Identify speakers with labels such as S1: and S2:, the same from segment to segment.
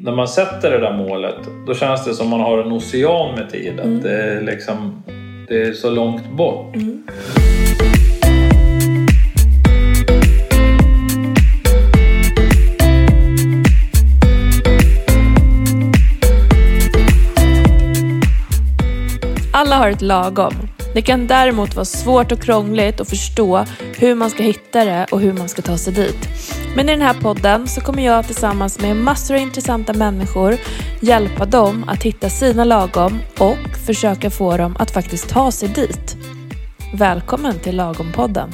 S1: när man sätter det där målet då känns det som man har en ocean med tid.
S2: Mm.
S1: Att det, är liksom, det är så långt bort.
S3: Alla har ett lagom. Det kan däremot vara svårt och krångligt att förstå hur man ska hitta det och hur man ska ta sig dit. Men i den här podden så kommer jag tillsammans med massor av intressanta människor hjälpa dem att hitta sina lagom och försöka få dem att faktiskt ta sig dit. Välkommen till Lagom-podden.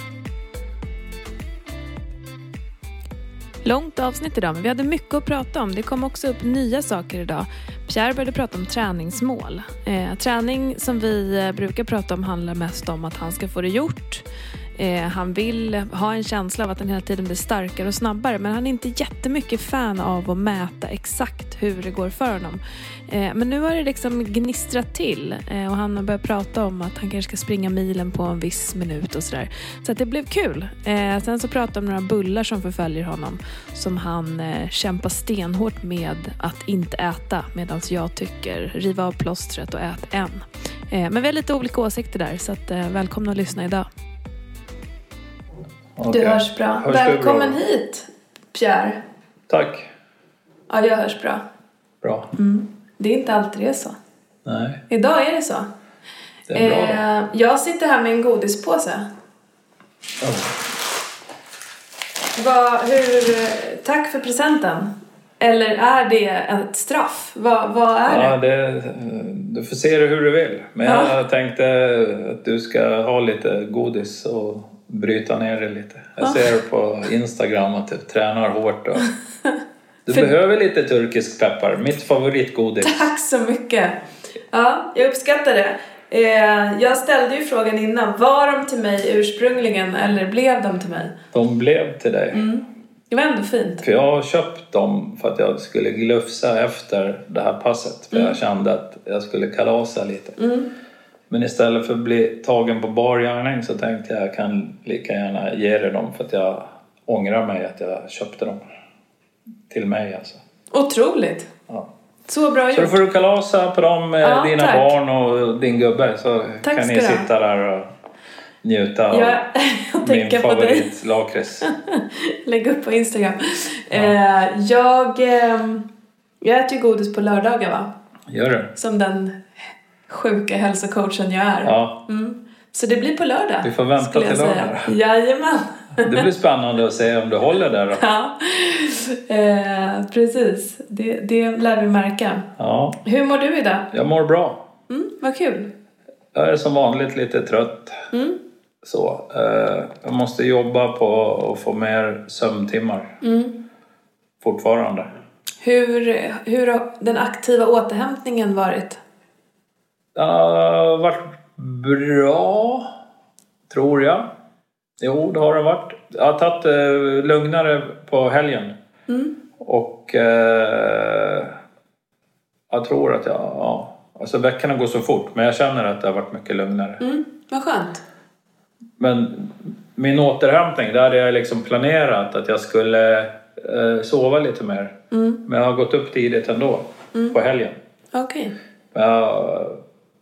S3: Långt avsnitt idag, men vi hade mycket att prata om. Det kom också upp nya saker idag. Pierre började prata om träningsmål. Eh, träning som vi eh, brukar prata om handlar mest om att han ska få det gjort. Eh, han vill ha en känsla av att han hela tiden blir starkare och snabbare men han är inte jättemycket fan av att mäta exakt hur det går för honom. Eh, men nu har det liksom gnistrat till eh, och han har börjat prata om att han kanske ska springa milen på en viss minut och sådär. Så att det blev kul. Eh, sen så pratade han om några bullar som förföljer honom som han eh, kämpar stenhårt med att inte äta medan jag tycker riva av plåstret och ät en. Eh, men vi har lite olika åsikter där så att, eh, välkomna att lyssna idag.
S1: Okej.
S2: Du hörs bra.
S1: Hörs du
S2: Välkommen
S1: bra?
S2: hit, Pierre.
S1: Tack.
S2: Ja, jag hörs bra.
S1: Bra.
S2: Mm. Det är inte alltid det är så.
S1: Nej,
S2: Idag är det så.
S1: det är bra.
S2: Eh, jag sitter här med en godispåse.
S1: Ja.
S2: Vad, hur, tack för presenten. Eller är det ett straff? Vad, vad är
S1: Ja,
S2: det?
S1: det, du får se det hur du vill. Men
S2: Ja.
S1: jag tänkte att du ska ha lite godis och bryta ner det lite. Jag ser på Instagram att du tränar hårt. Och du behöver lite turkisk peppar, mitt favoritgodis.
S2: Tack så mycket. Ja, jag uppskattar det. Eh, jag ställde ju frågan innan. Var de till mig ursprungligen eller blev de till mig?
S1: De blev till
S2: Mm.
S1: dig.
S2: Det var ändå fint.
S1: För jag har köpt dem för att jag skulle glufsa efter det här passet. För
S2: Mm.
S1: jag kände att jag skulle kalasa lite. Men istället för att bli tagen på bar gärning så tänkte jag jag kan lika gärna ge dig dem för att jag ångrar mig att jag köpte dem. Till mig alltså.
S2: Otroligt.
S1: Ja.
S2: Så bra
S1: Så då
S2: gjort.
S1: får du kalasa på dem med
S2: Ja,
S1: dina
S2: tack.
S1: barn och din gubbe så
S2: Tack
S1: kan
S2: ska
S1: ni
S2: du ha.
S1: sitta där och njuta av
S2: Jag, jag tänker
S1: min
S2: på dig.
S1: favoritlakrits.
S2: Lägg upp på Instagram. Eh, jag, ehm, jag äter ju godis på lördagar va?
S1: Gör du?
S2: Som den sjuka hälsocoachen jag är.
S1: Ja,
S2: Mm. Så det blir på lördag.
S1: Vi får vänta
S2: skulle jag
S1: till
S2: säga. Jajamän.
S1: det blir spännande att se om du håller där då.
S2: Ja. Eh, precis. Det, det lär vi märka.
S1: Ja.
S2: Hur mår du idag?
S1: Jag mår bra.
S2: Mm, vad kul.
S1: Jag är som vanligt lite trött. Så, eh, jag måste jobba på att få mer sömntimmar. Fortfarande.
S2: Hur, hur har den aktiva återhämtningen varit?
S1: Den har varit bra, tror jag. Jo, det har den varit. Jag har tagit eh, lugnare på helgen. Och eh, jag tror att jag... Ja. Alltså veckorna går så fort, men jag känner att det har varit mycket lugnare.
S2: Mm, vad skönt.
S1: Men min återhämtning, där hade jag liksom planerat att jag skulle eh, sova lite mer.
S2: Mm.
S1: Men jag har gått upp tidigt ändå, på helgen.
S2: Okej.
S1: Men jag har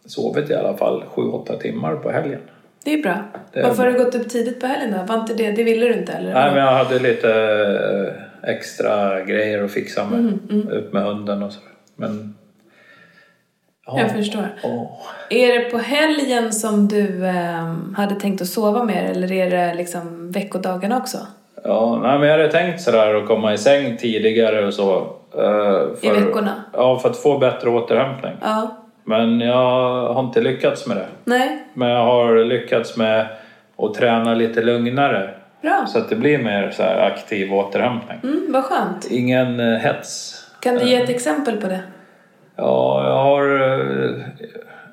S1: sovit i alla fall 7-8 timmar på helgen.
S2: Det är bra.
S1: Det är
S2: Varför har du gått upp tidigt på helgen då? Var inte det, det ville du inte eller?
S1: Nej, men jag hade lite eh, extra grejer att fixa med.
S2: Mm,
S1: Ut med hunden och så. Men... Ja,
S2: Jag förstår.
S1: åh.
S2: Är det på helgen som du ehm, hade tänkt att sova mer eller är det liksom veckodagarna också?
S1: Ja, nej, men jag hade tänkt sådär att komma i säng tidigare och så. eh,
S2: I veckorna?
S1: Ja, för att få bättre återhämtning.
S2: Ja.
S1: Men jag har inte lyckats med det.
S2: Nej.
S1: Men jag har lyckats med att träna lite lugnare.
S2: Bra.
S1: Så att det blir mer så här aktiv återhämtning.
S2: Mm, vad skönt.
S1: Ingen eh, hets.
S2: Kan du ge
S1: Eh.
S2: ett exempel på det?
S1: Ja, jag har, eh,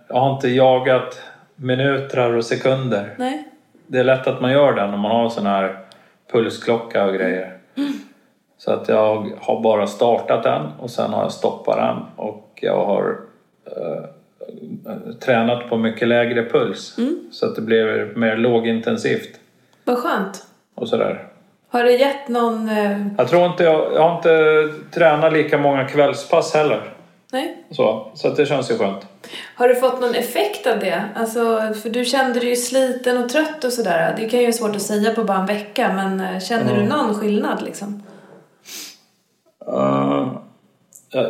S1: jag har inte jagat minuter och sekunder.
S2: Nej.
S1: Det är lätt att man gör det när man har sån här pulsklocka och grejer. Så att jag har bara startat den och sen har jag stoppat den och jag har eh, tränat på mycket lägre puls. Så att det blir mer lågintensivt
S2: Vad skönt.
S1: och sådär.
S2: Har det gett någon... eh,
S1: Jag tror inte jag, jag har inte tränat lika många kvällspass heller.
S2: Nej.
S1: Så, så att det känns ju skönt.
S2: Har du fått någon effekt av det? Alltså, för du kände dig ju sliten och trött och sådär. Det kan ju vara svårt att säga på bara en vecka, men eh, känner du någon skillnad liksom?
S1: Eh,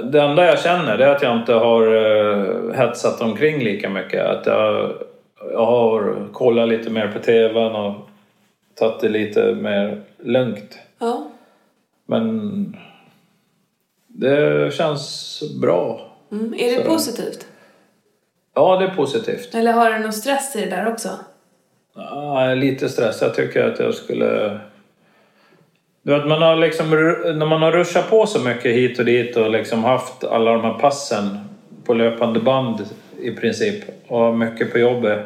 S1: det enda jag känner det är att jag inte har eh, hetsat omkring lika mycket. Att jag, jag har kollat lite mer på tvn och tagit det lite mer lugnt.
S2: Ja.
S1: Men det känns bra.
S2: Mm. Är det
S1: Så.
S2: positivt?
S1: Ja, det är positivt.
S2: Eller har du någon stress i det där också?
S1: Ja, jag är lite stress. Jag tycker att jag skulle... Du vet, man har liksom, ru- när man har ruschat på så mycket hit och dit och liksom haft alla de här passen på löpande band i princip och har mycket på jobbet.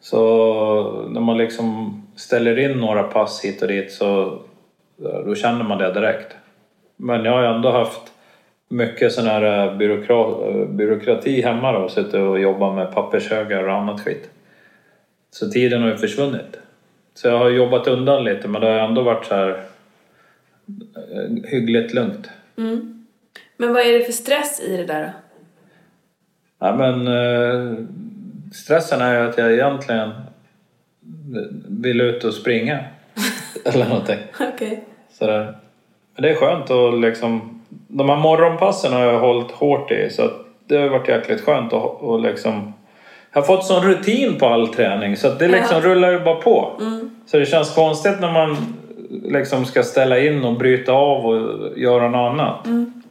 S1: Så när man liksom ställer in några pass hit och dit så då känner man det direkt. Men jag har ju ändå haft mycket sån här eh, byråkra, eh, byråkrati hemma då, suttit och jobbat med pappershögar och annat skit. Så tiden har ju försvunnit. Så jag har jobbat undan lite men det har ändå varit så här eh, hyggligt lugnt.
S2: Men vad är det för stress i det där då?
S1: Nej men eh, stressen är ju att jag egentligen eh, vill ut och springa. Eller någonting.
S2: Okej.
S1: Sådär. Men det är skönt att liksom... De här morgonpassen har jag hållit hårt i så att det har ju varit jäkligt skönt att och liksom... Jag har fått sån rutin på all träning så att det liksom rullar ju bara på. Så det känns konstigt när man liksom ska ställa in och bryta av och göra något annat.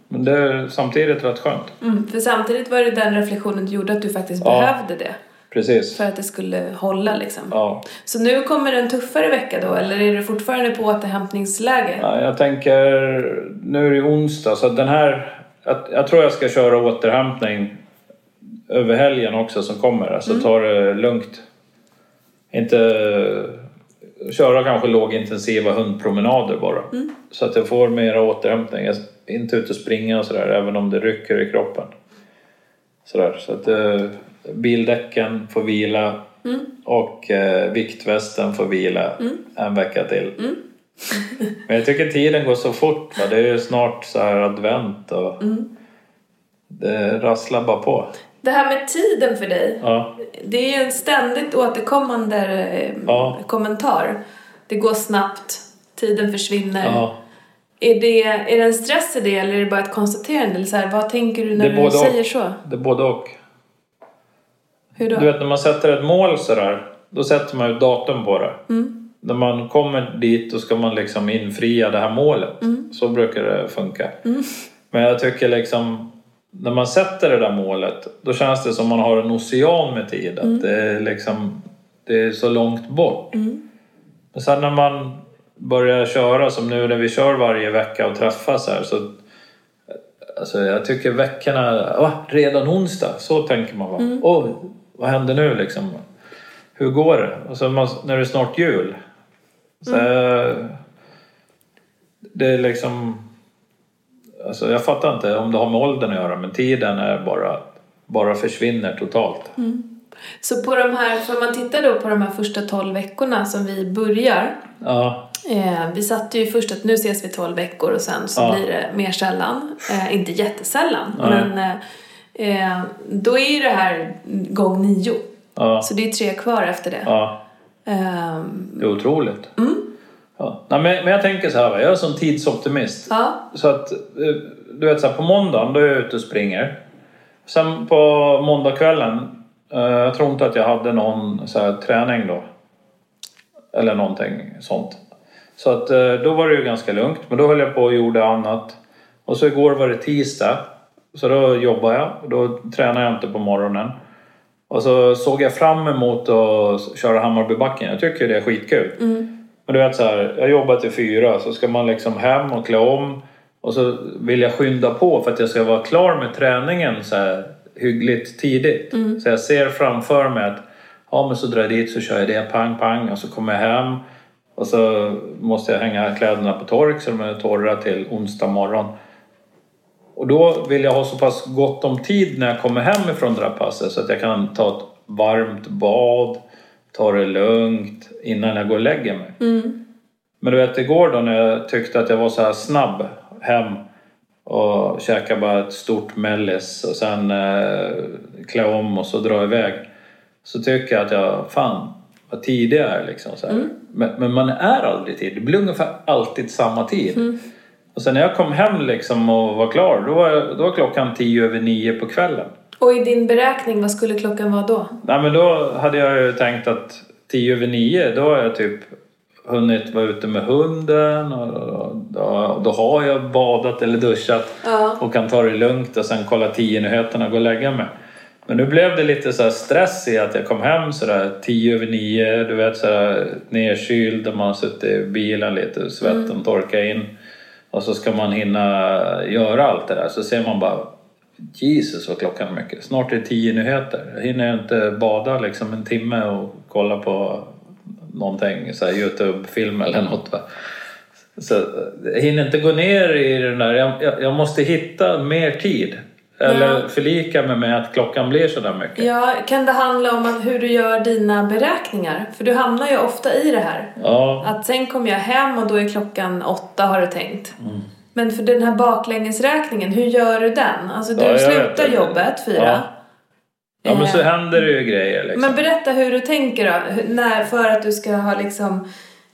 S1: Men det är samtidigt rätt skönt.
S2: Mm. För samtidigt var det den reflektionen du gjorde att du faktiskt behövde det.
S1: Precis.
S2: För att det skulle hålla liksom.
S1: Ja.
S2: Så nu kommer en tuffare vecka då? Eller är du fortfarande på återhämtningsläge?
S1: Ja, Jag tänker, nu är det ju onsdag så att den här, jag, jag tror jag ska köra återhämtning över helgen också som kommer. Alltså ta det lugnt. Inte köra kanske lågintensiva hundpromenader bara. Så att jag får mera återhämtning. Jag, inte ut och springa och sådär även om det rycker i kroppen. Sådär, så att eh, bildäcken får vila och eh, viktvästen får vila en vecka till. Men jag tycker tiden går så fort. Va? Det är ju snart så här advent och det rasslar bara på.
S2: Det här med tiden för dig,
S1: Ja,
S2: det är ju en ständigt återkommande eh,
S1: Ja.
S2: kommentar. Det går snabbt, tiden försvinner.
S1: ja.
S2: Är, det, är det en stress i det eller är det bara ett konstaterande? Eller så här, vad tänker du
S1: Det
S2: när
S1: är
S2: du
S1: både och.
S2: säger så?
S1: det är både och.
S2: Hur då?
S1: Du vet när man sätter ett mål sådär, då sätter man ju ett datum på det.
S2: Mm.
S1: När man kommer dit då ska man liksom infria det här målet.
S2: Mm.
S1: Så brukar det funka. Men jag tycker liksom, när man sätter det där målet då känns det som man har en ocean med tid. Att
S2: Mm.
S1: det, är liksom, det är så långt bort.
S2: Mm.
S1: Men sen när man börjar köra, som nu när vi kör varje vecka och träffas här så Alltså jag tycker veckorna... Va? Redan onsdag? Så tänker man va? Oj, vad händer nu liksom? Hur går det? Och så man, när det är snart jul. Så eh, Det är liksom... Alltså jag fattar inte om det har med åldern att göra men tiden är bara, bara försvinner totalt.
S2: Så på de här, för om man tittar då på de här första 12 veckorna som vi börjar.
S1: Ja,
S2: Eh, vi satte ju först att nu ses vi 12 veckor och sen så
S1: Ja.
S2: blir det mer sällan. Eh, inte jättesällan,
S1: Nej.
S2: men eh, eh, då är ju det här gång nio.
S1: ja,
S2: Så det är tre kvar efter det.
S1: ja.
S2: Ehm,
S1: Det är otroligt. Ja. Nej, men, men jag tänker så här va? Jag är som tidsoptimist.
S2: ja,
S1: Så att, eh, du vet så här, på måndagen då är jag ute och springer. Sen på måndagskvällen, eh, jag tror inte att jag hade någon så här, träning då. Eller någonting sånt. Så att eh, då var det ju ganska lugnt, men då höll jag på och gjorde annat. Och så igår var det tisdag, så då jobbade jag. och Då tränade jag inte på morgonen. Och så såg jag fram emot att köra Hammarbybacken. Jag tycker ju det är skitkul. Men du vet så här, jag jobbar till fyra så ska man liksom hem och klä om och så vill jag skynda på för att jag ska vara klar med träningen så här hyggligt tidigt. Så jag ser framför mig att ja men så drar jag dit så kör jag det, pang pang och så kommer jag hem och så måste jag hänga kläderna på tork så de är torra till onsdag morgon. Och då vill jag ha så pass gott om tid när jag kommer hem ifrån det där passet så att jag kan ta ett varmt bad, ta det lugnt innan jag går och lägger mig. Men du vet igår då när jag tyckte att jag var så här snabb hem och käka bara ett stort mellis och sen eh, klä om och så dra iväg. Så tycker jag att jag, fan vad tidig jag är liksom. Så här. Men, men man är aldrig tidig. Det blir ungefär alltid samma tid. Och sen när jag kom hem liksom och var klar, då var, jag- då var klockan tio över nio på kvällen.
S2: Och i din beräkning, vad skulle klockan vara då?
S1: Nej men då hade jag ju tänkt att tio över nio, då har jag typ hunnit vara ute med hunden och och- då, då har jag badat eller duschat
S2: Ja.
S1: och kan ta det lugnt och sen kolla tio nyheterna och gå och lägga mig. Men nu blev det lite så här stress i att jag kom hem sådär tio över nio, du vet sådär nerkyld och man har suttit i bilen lite och svetten torkar in. Och så ska man hinna göra allt det där så ser man bara Jesus vad klockan är mycket. Snart är det tio nyheter. Jag hinner ju inte bada liksom en timme och kolla på någonting, så här Youtube-film eller något. Va? Så eh, jag hinner inte gå ner i den där. Jag, jag, jag måste hitta mer tid. Eller
S2: Ja.
S1: förlika mig med att klockan blir så där mycket.
S2: Ja, kan det handla om att hur du gör dina beräkningar? För du hamnar ju ofta i det här.
S1: Ja,
S2: Att sen kommer jag hem och då är klockan åtta har du tänkt.
S1: Mm.
S2: Men för den här baklängesräkningen, hur gör du den? Alltså du
S1: Ja, jag
S2: slutar
S1: vet det.
S2: jobbet fyra.
S1: Ja. ja men så
S2: Eh,
S1: händer det ju grejer liksom.
S2: Men berätta hur du tänker då, hur- när, för att du ska ha liksom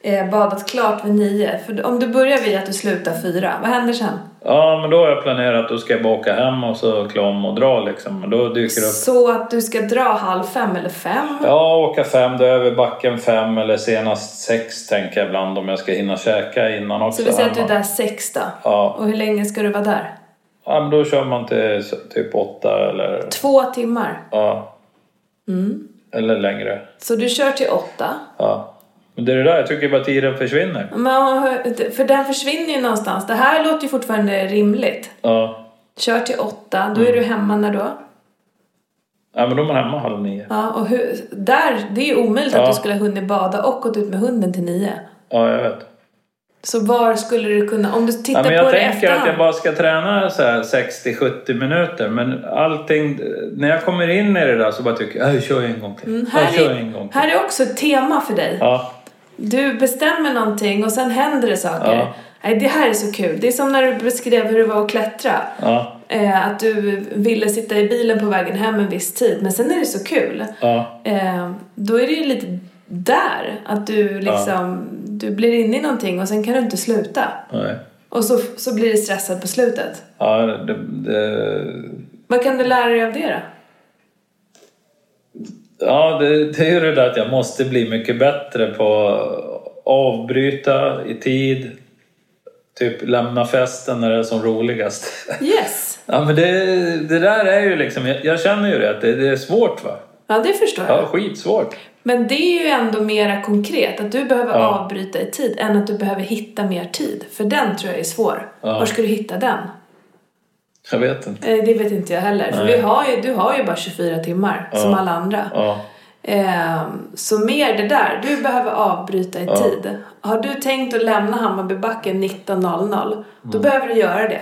S2: eh, badat klart vid nio. För om du börjar vid att du slutar fyra, vad händer sen?
S1: Ja, men då har jag planerat att då ska jag bara åka hem och så klä om och dra liksom. Men då dyker det upp
S2: Så att du ska dra halv fem eller fem?
S1: Ja, åka fem, då är jag över backen fem eller senast sex tänker jag ibland om jag ska hinna käka innan också.
S2: Så vi säger att du är
S1: hemma.
S2: där sex då.
S1: Ja.
S2: Och hur länge ska du vara där?
S1: ja, men då kör man till så- typ åtta eller...
S2: Två timmar.
S1: Ja.
S2: Mm.
S1: Eller längre.
S2: Så du kör till åtta.
S1: Ja. Men det är det där, jag tycker bara tiden försvinner.
S2: Men, för den försvinner ju någonstans. Det här låter ju fortfarande rimligt.
S1: Ja.
S2: Kör till åtta, då
S1: Mm.
S2: är du hemma när då?
S1: ja, men då är man hemma halv nio.
S2: Ja, och hur, där, det är ju omöjligt
S1: Ja.
S2: att du skulle ha hunnit bada och gått ut med hunden till nio.
S1: Ja, jag vet.
S2: Så var skulle du kunna, om du
S1: Ja,
S2: tittar
S1: men
S2: på
S1: jag
S2: det
S1: tänker att jag
S2: efterhand.
S1: bara ska träna så här 60-70 minuter men allting... När jag kommer in i det där så bara tycker jag, jag kör en gång till. jag
S2: här,
S1: kör en gång
S2: är,
S1: till.
S2: här är också ett tema för dig.
S1: Ja.
S2: Du bestämmer någonting och sen händer det saker.
S1: Ja.
S2: Nej, det här är så kul. Det är som när du beskrev hur det var att klättra.
S1: Ja.
S2: Eh, att du ville sitta i bilen på vägen hem en viss tid, men sen är det så kul.
S1: Ja.
S2: Eh, då är det ju lite där, att du liksom, du blir inne i någonting och sen kan du inte sluta.
S1: Nej.
S2: Och så, så blir det stressad på slutet.
S1: Ja, det, det,
S2: Vad kan du lära dig av det då?
S1: ja det, det är ju det där att jag måste bli mycket bättre på att avbryta i tid. Typ lämna festen när det är som roligast.
S2: Yes!
S1: Ja men det, det där är ju liksom, jag, jag känner ju det att det, det är svårt va?
S2: Ja, det förstår jag.
S1: Ja, skitsvårt.
S2: Men det är ju ändå mera konkret, att du behöver
S1: Ja.
S2: avbryta i tid än att du behöver hitta mer tid. För den tror jag är svår.
S1: Ja.
S2: Var ska du hitta den?
S1: Jag vet inte.
S2: Eh, Det vet inte jag heller. För
S1: Nej.
S2: vi har ju, du har ju bara 24 timmar, som alla andra.
S1: Ja.
S2: Ehm, så mer det där, du behöver avbryta i tid. Har du tänkt att lämna Hammarbybacken 19.00, då behöver du göra det.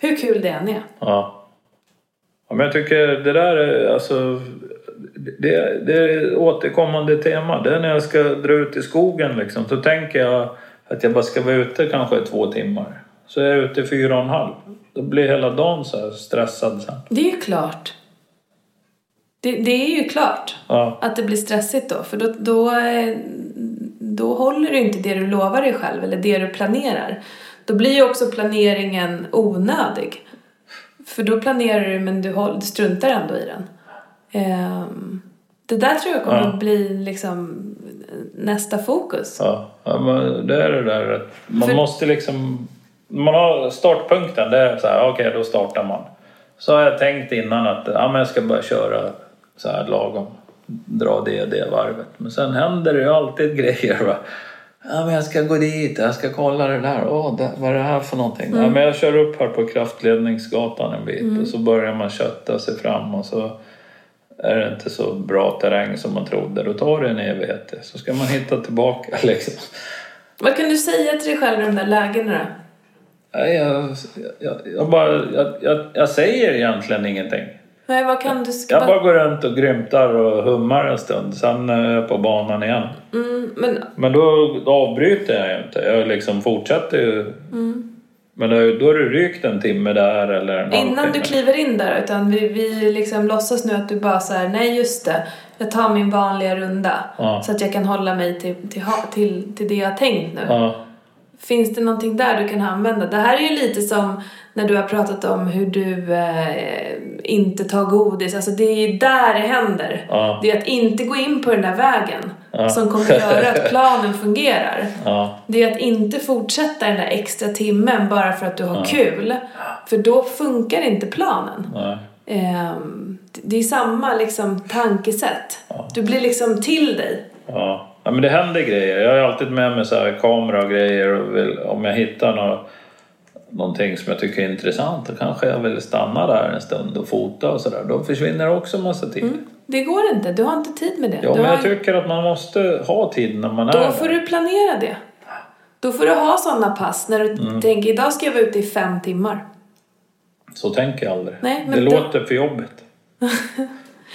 S2: Hur kul det än är.
S1: Ja. ja men jag tycker det där är alltså... Det, det är ett återkommande tema. Det är när jag ska dra ut i skogen liksom. Så tänker jag att jag bara ska vara ute kanske i två timmar. Så är jag ute i fyra och en halv. Då blir hela dagen så här stressad sen.
S2: Det är ju klart. Det, det är ju klart
S1: Ja.
S2: att det blir stressigt då, för då, då, eh, då håller du inte det du lovar dig själv eller det du planerar. Då blir ju också planeringen onödig. För då planerar du men du, håll- du struntar ändå i den. Ehm, det där tror jag kommer
S1: Ja.
S2: att bli liksom nästa fokus.
S1: Ja. ja men det är det där att man
S2: För-
S1: måste liksom... Man har startpunkten. Det är så här, okej då startar man. Så har jag tänkt innan att ja, men jag ska bara köra så här lagom. Dra det och det varvet. Men sen händer det ju alltid grejer. Va? Ja, men jag ska gå dit, jag ska kolla det där. Åh, det, vad är det här för någonting? Ja, men jag kör upp här på kraftledningsgatan en bit och så börjar man kötta sig fram och så är det inte så bra terräng som man trodde. Då tar det en evighet. Så ska man hitta tillbaka liksom.
S2: Vad kan du säga till dig själv i de där lägena då?
S1: Nej, jag, jag, jag, bara, jag, jag, jag säger egentligen ingenting.
S2: Nej, vad kan du... Ska
S1: Jag bara går runt och grymtar och hummar en stund. Sen är jag på banan igen.
S2: mm, men
S1: Men då avbryter jag ju inte. Jag liksom fortsätter ju. Men då, då har du rykt en timme där eller en
S2: Mm. innan du
S1: halvtimme.
S2: kliver in där, utan vi, vi liksom låtsas nu att du bara så här, nej just det, jag tar min vanliga runda.
S1: Ja.
S2: Så att jag kan hålla mig till, till, ha- till, till det jag har tänkt nu.
S1: Ja.
S2: Finns det någonting där du kan använda? Det här är ju lite som när du har pratat om hur du eh, inte tar godis. Alltså det är ju där det händer.
S1: Ja.
S2: Det är att inte gå in på den där vägen
S1: Ja.
S2: som kommer göra att planen fungerar.
S1: Ja.
S2: Det är att inte fortsätta den där extra timmen bara för att du har kul. För då funkar inte planen.
S1: Nej.
S2: Ehm, det är samma liksom tankesätt. Du blir liksom till dig.
S1: Ja. ja, men det händer grejer. Jag har ju alltid med mig så här kamera och grejer. Och vill, om jag hittar nå någonting som jag tycker är intressant då kanske jag vill stanna där en stund och fota och sådär. Då försvinner också massa tid.
S2: Det går inte. Du har inte tid med det.
S1: Ja,
S2: du
S1: men
S2: har...
S1: jag tycker att man måste ha tid när man är
S2: Då
S1: där.
S2: får du planera det. Då får du ha sådana pass när du
S1: Mm.
S2: tänker idag ska jag vara ute i fem timmar.
S1: Så tänker jag aldrig.
S2: Nej, men
S1: det
S2: då-
S1: låter för jobbigt.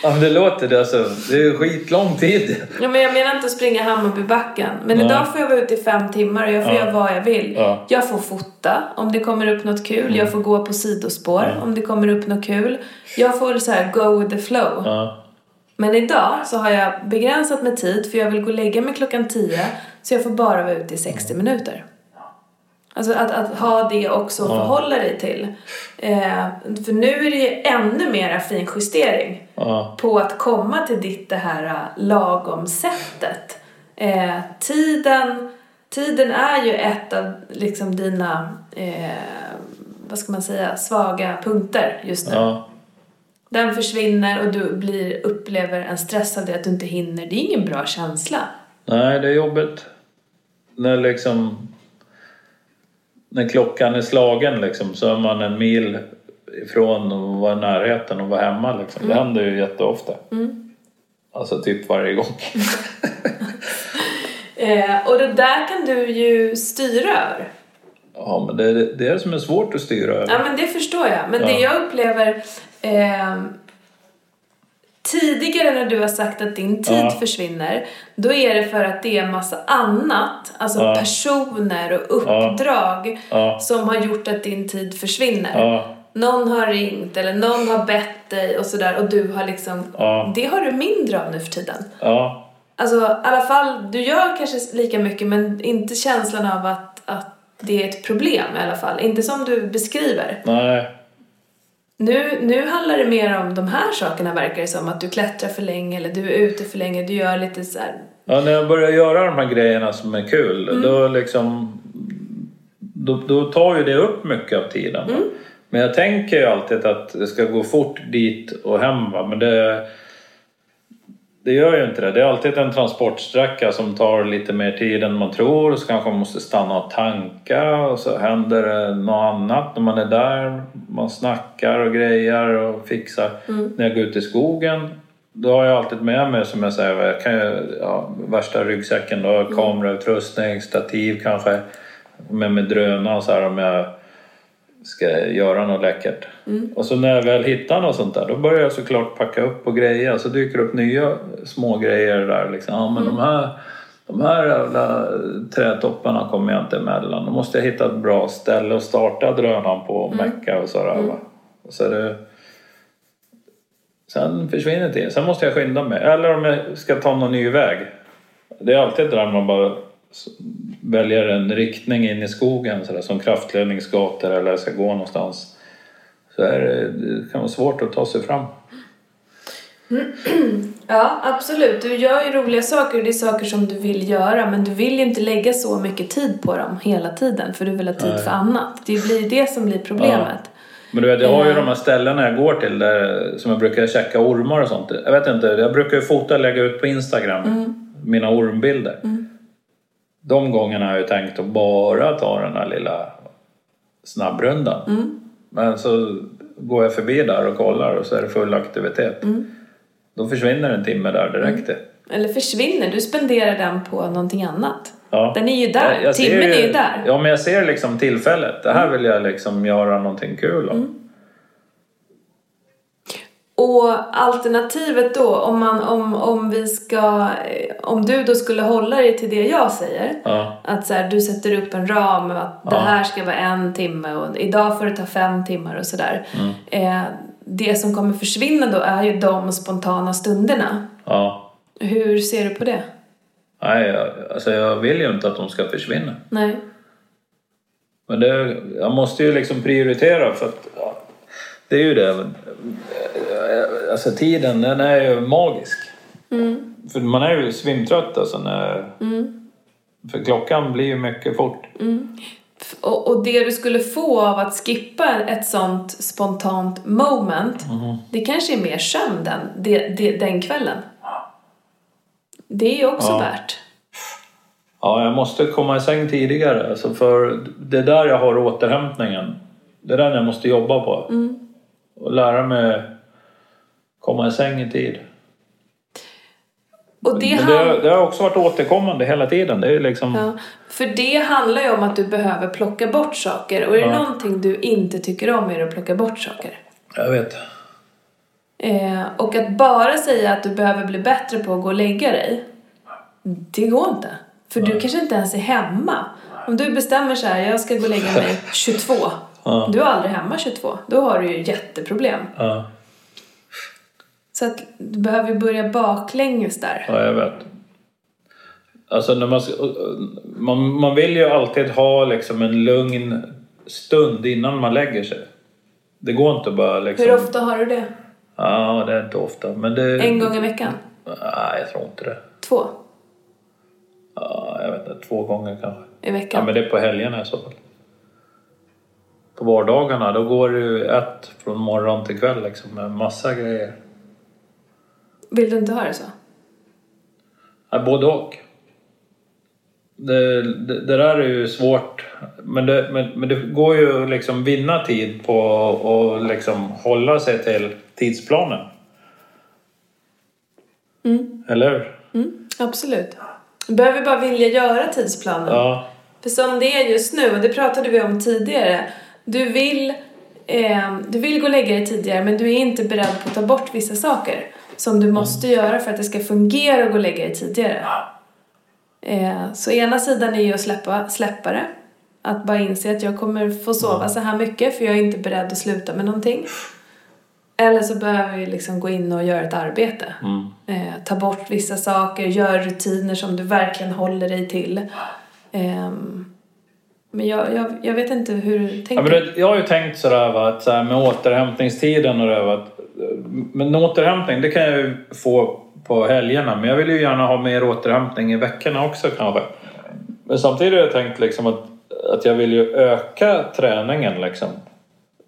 S1: ja, men det låter det alltså. Det är ju skitlång tid.
S2: Ja, men jag menar inte att springa Hammarbybacken. Men
S1: Nej.
S2: idag får jag vara ute i fem timmar och jag får
S1: Ja.
S2: göra vad jag vill.
S1: Ja. Mm.
S2: Jag får fota om det kommer upp något kul. Jag får gå på sidospår om det kommer upp något kul. Jag får så här go with the flow.
S1: Ja,
S2: Men idag så har jag begränsat med tid för jag vill gå och lägga mig klockan 10 så jag får bara vara ute i 60
S1: Mm.
S2: minuter. Alltså att, att ha det också att förhålla dig till. Eh, för nu är det ju ännu mera finjustering
S1: ja,
S2: på att komma till ditt det här eh, lagom sättet. Eh, tiden, tiden är ju ett av liksom dina, eh, vad ska man säga, svaga punkter just nu.
S1: ja.
S2: Den försvinner och du blir, upplever en stress av det att du inte hinner. Det är ingen bra känsla.
S1: Nej, det är jobbigt. När liksom... När klockan är slagen liksom så är man en mil ifrån och vara i närheten och vara hemma liksom. Det händer ju jätteofta. Alltså typ varje gång.
S2: Eh, och det där kan du ju styra över.
S1: Ja, men det är det är det som är svårt att styra över.
S2: Ja, men det förstår jag. Men det
S1: Ja.
S2: jag upplever... Eh, tidigare när du har sagt att din tid
S1: Ja.
S2: försvinner, då är det för att det är massa annat, alltså
S1: Ja.
S2: personer och uppdrag,
S1: Ja.
S2: som har gjort att din tid försvinner.
S1: Ja,
S2: Någon har ringt eller någon har bett dig och sådär och du har liksom...
S1: Ja.
S2: Det har du mindre av nu för tiden.
S1: ja.
S2: Alltså i alla fall, du gör kanske lika mycket men inte känslan av att, att det är ett problem i alla fall. Inte som du beskriver.
S1: Nej.
S2: Nu, nu handlar det mer om de här sakerna verkar det som. Att du klättrar för länge eller du är ute för länge. Du gör lite så här.
S1: Ja, när jag börjar göra de här grejerna som är kul, då liksom... Då, då tar ju det upp mycket av tiden. va. Men jag tänker ju alltid att det ska gå fort dit och hem, va? men det... Det gör ju inte det. Det är alltid en transportsträcka som tar lite mer tid än man tror. Så kanske man måste stanna och tanka och så händer det något annat när man är där. Man snackar och grejer och fixar. När jag går ut i skogen då har jag alltid med mig, som jag säger, jag kan ju, ja, värsta ryggsäcken då, kamerautrustning, stativ kanske. Med mig drönare och så här om jag ska göra något läckert. Och så när jag väl hittar något sånt där då börjar jag såklart packa upp och grejer. Så dyker det upp nya små grejer där liksom. Ja men de här, de här jävla trädtopparna kommer jag inte emellan. Då måste jag hitta ett bra ställe att starta drönaren på och mecka och sådär va. Och så är det, sen försvinner det. Sen måste jag skynda mig. Eller om jag ska ta någon ny väg. Det är alltid det där man bara s- väljer en riktning in i skogen så där, som kraftledningsgator eller ska gå någonstans. Så är det, det kan vara svårt att ta sig fram.
S2: Ja, absolut. Du gör ju roliga saker och det är saker som du vill göra. Men du vill ju inte lägga så mycket tid på dem hela tiden. För du vill ha tid för annat. Det blir det som blir problemet.
S1: Men du vet, jag har
S2: Eh.
S1: ju de här ställena jag går till där, som jag brukar checka ormar och sånt. Jag vet inte, jag brukar ju fota och lägga ut på Instagram
S2: Mm.
S1: mina ormbilder. De gångerna har jag ju tänkt att bara ta den här lilla snabbrundan.
S2: Mm.
S1: Men så går jag förbi där och kollar och så är det full aktivitet.
S2: Mm.
S1: Då försvinner en timme där direkt.
S2: Eller försvinner. Du spenderar den på någonting annat.
S1: Ja.
S2: Den är ju där.
S1: Jag- jag ser
S2: Timmen
S1: ju-
S2: är ju där. Mm.
S1: Ja, men jag ser liksom tillfället. Det här vill jag liksom göra någonting kul av.
S2: Och alternativet då, om, man, om, om, vi ska, eh, om du då skulle hålla dig till det jag säger.
S1: Ja.
S2: Att så här, du sätter upp en ram, att det
S1: Ja.
S2: här ska vara en timme och idag får det ta fem timmar och sådär.
S1: Mm.
S2: Eh, det som kommer försvinna då är ju de spontana stunderna.
S1: ja.
S2: Hur ser du på det?
S1: Nej, jag, alltså jag vill ju inte att de ska försvinna.
S2: Nej.
S1: Men det, jag måste ju liksom prioritera för att... Ja, det är ju det. Alltså tiden, den är ju magisk. För man är ju svimtrött alltså när... För klockan blir ju mycket fort.
S2: Och, och det du skulle få av att skippa ett sånt spontant moment,
S1: Mm.
S2: det kanske är mer sömn den, det, det, den kvällen. Det är ju också
S1: Ja.
S2: värt.
S1: Ja, jag måste komma i säng tidigare. Alltså för det är där jag har återhämtningen. Det är den jag måste jobba på. Och lära mig komma i säng i tid.
S2: Och det,
S1: Men
S2: han-
S1: det, det har också varit återkommande hela tiden. Det är ju liksom...
S2: ja, för det handlar ju om att du behöver plocka bort saker. Och är det någonting du inte tycker om är det att plocka bort saker.
S1: Jag vet.
S2: Eh, och att bara säga att du behöver bli bättre på att gå och lägga dig, det går inte. För du kanske inte ens är hemma. Om du bestämmer så här, jag ska gå och lägga mig 22. Du är aldrig hemma 22. Då har du ju jätteproblem.
S1: Ja,
S2: Så att du behöver ju börja baklänges där.
S1: ja jag vet. Alltså när man, ska- man, man vill ju alltid ha liksom en lugn stund innan man lägger sig. Det går inte bara liksom...
S2: Hur ofta har du det?
S1: Ja, det är inte ofta. Men det...
S2: En gång i veckan?
S1: Nej, jag tror inte det.
S2: Två
S1: Ja, jag vet inte, två gånger kanske.
S2: i
S1: Ja,
S2: veckan?
S1: men det är på helgerna i så fall. På vardagarna, då går det ju ett från morgon till kväll liksom med massa grejer.
S2: Vill du inte ha det så?
S1: Ja, både och. Det, det, det där är ju svårt. Men det, men, men det går ju att liksom vinna tid på att liksom hålla sig till tidsplanen. Eller hur?
S2: Mm, absolut. Du behöver bara vilja göra tidsplanen.
S1: Ja.
S2: För som det är just nu, och det pratade vi om tidigare, du vill, eh, du vill gå och lägga dig tidigare men du är inte beredd på att ta bort vissa saker som du måste göra för att det ska fungera att gå och lägga dig tidigare. Eh, så ena sidan är ju att släppa, släppa det, att bara inse att jag kommer få sova så här mycket för jag är inte beredd att sluta med någonting. Eller så behöver vi liksom gå in och göra ett arbete.
S1: Mm.
S2: Eh, ta bort vissa saker, gör rutiner som du verkligen håller dig till. Ehm, men jag, jag, jag vet inte hur du
S1: Ja,
S2: tänker.
S1: men det, jag har ju tänkt sådär va, att så här med återhämtningstiden och det va, att, Men återhämtning, det kan jag ju få på helgerna. Men jag vill ju gärna ha mer återhämtning i veckorna också kanske. Men samtidigt har jag tänkt liksom att, att jag vill ju öka träningen liksom.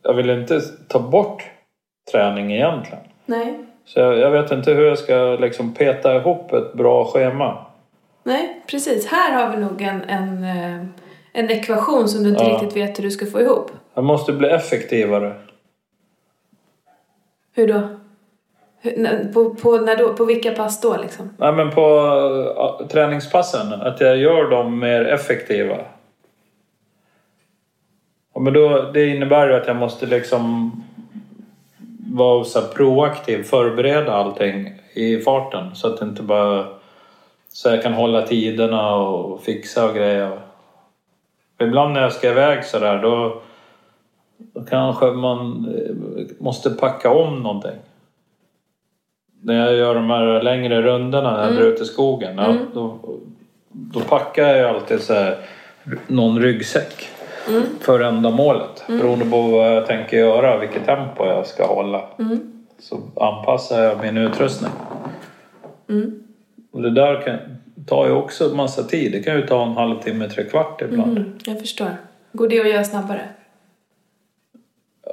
S1: Jag vill inte ta bort träning egentligen.
S2: Nej.
S1: Så jag, jag vet inte hur jag ska liksom peta ihop ett bra schema.
S2: Nej, precis. Här har vi nog en, en, eh, en ekvation som du inte
S1: Ja.
S2: riktigt vet hur du ska få ihop.
S1: Jag måste bli effektivare.
S2: Hur då? Hur, när- på, på, när då? på vilka pass då liksom?
S1: Nej, men på äh, träningspassen, att jag gör dem mer effektiva. Ja, men då, det innebär ju att jag måste liksom vara så här proaktiv, förbereda allting i farten så att det inte bara... Så jag kan hålla tiderna och fixa och grejer. Ibland när jag ska iväg så där då, då kanske man eh, måste packa om någonting när jag gör de här längre rundorna när jag drar ut i skogen ja, då, då packar jag ju alltid så här, någon ryggsäck för ändamålet. Beroende på vad jag tänker göra, vilket tempo jag ska hålla. Så anpassar jag min utrustning. Och det där kan, tar ju också massa tid. Det kan ju ta en halvtimme, tre kvart ibland.
S2: Mm, jag förstår. Går det att göra snabbare?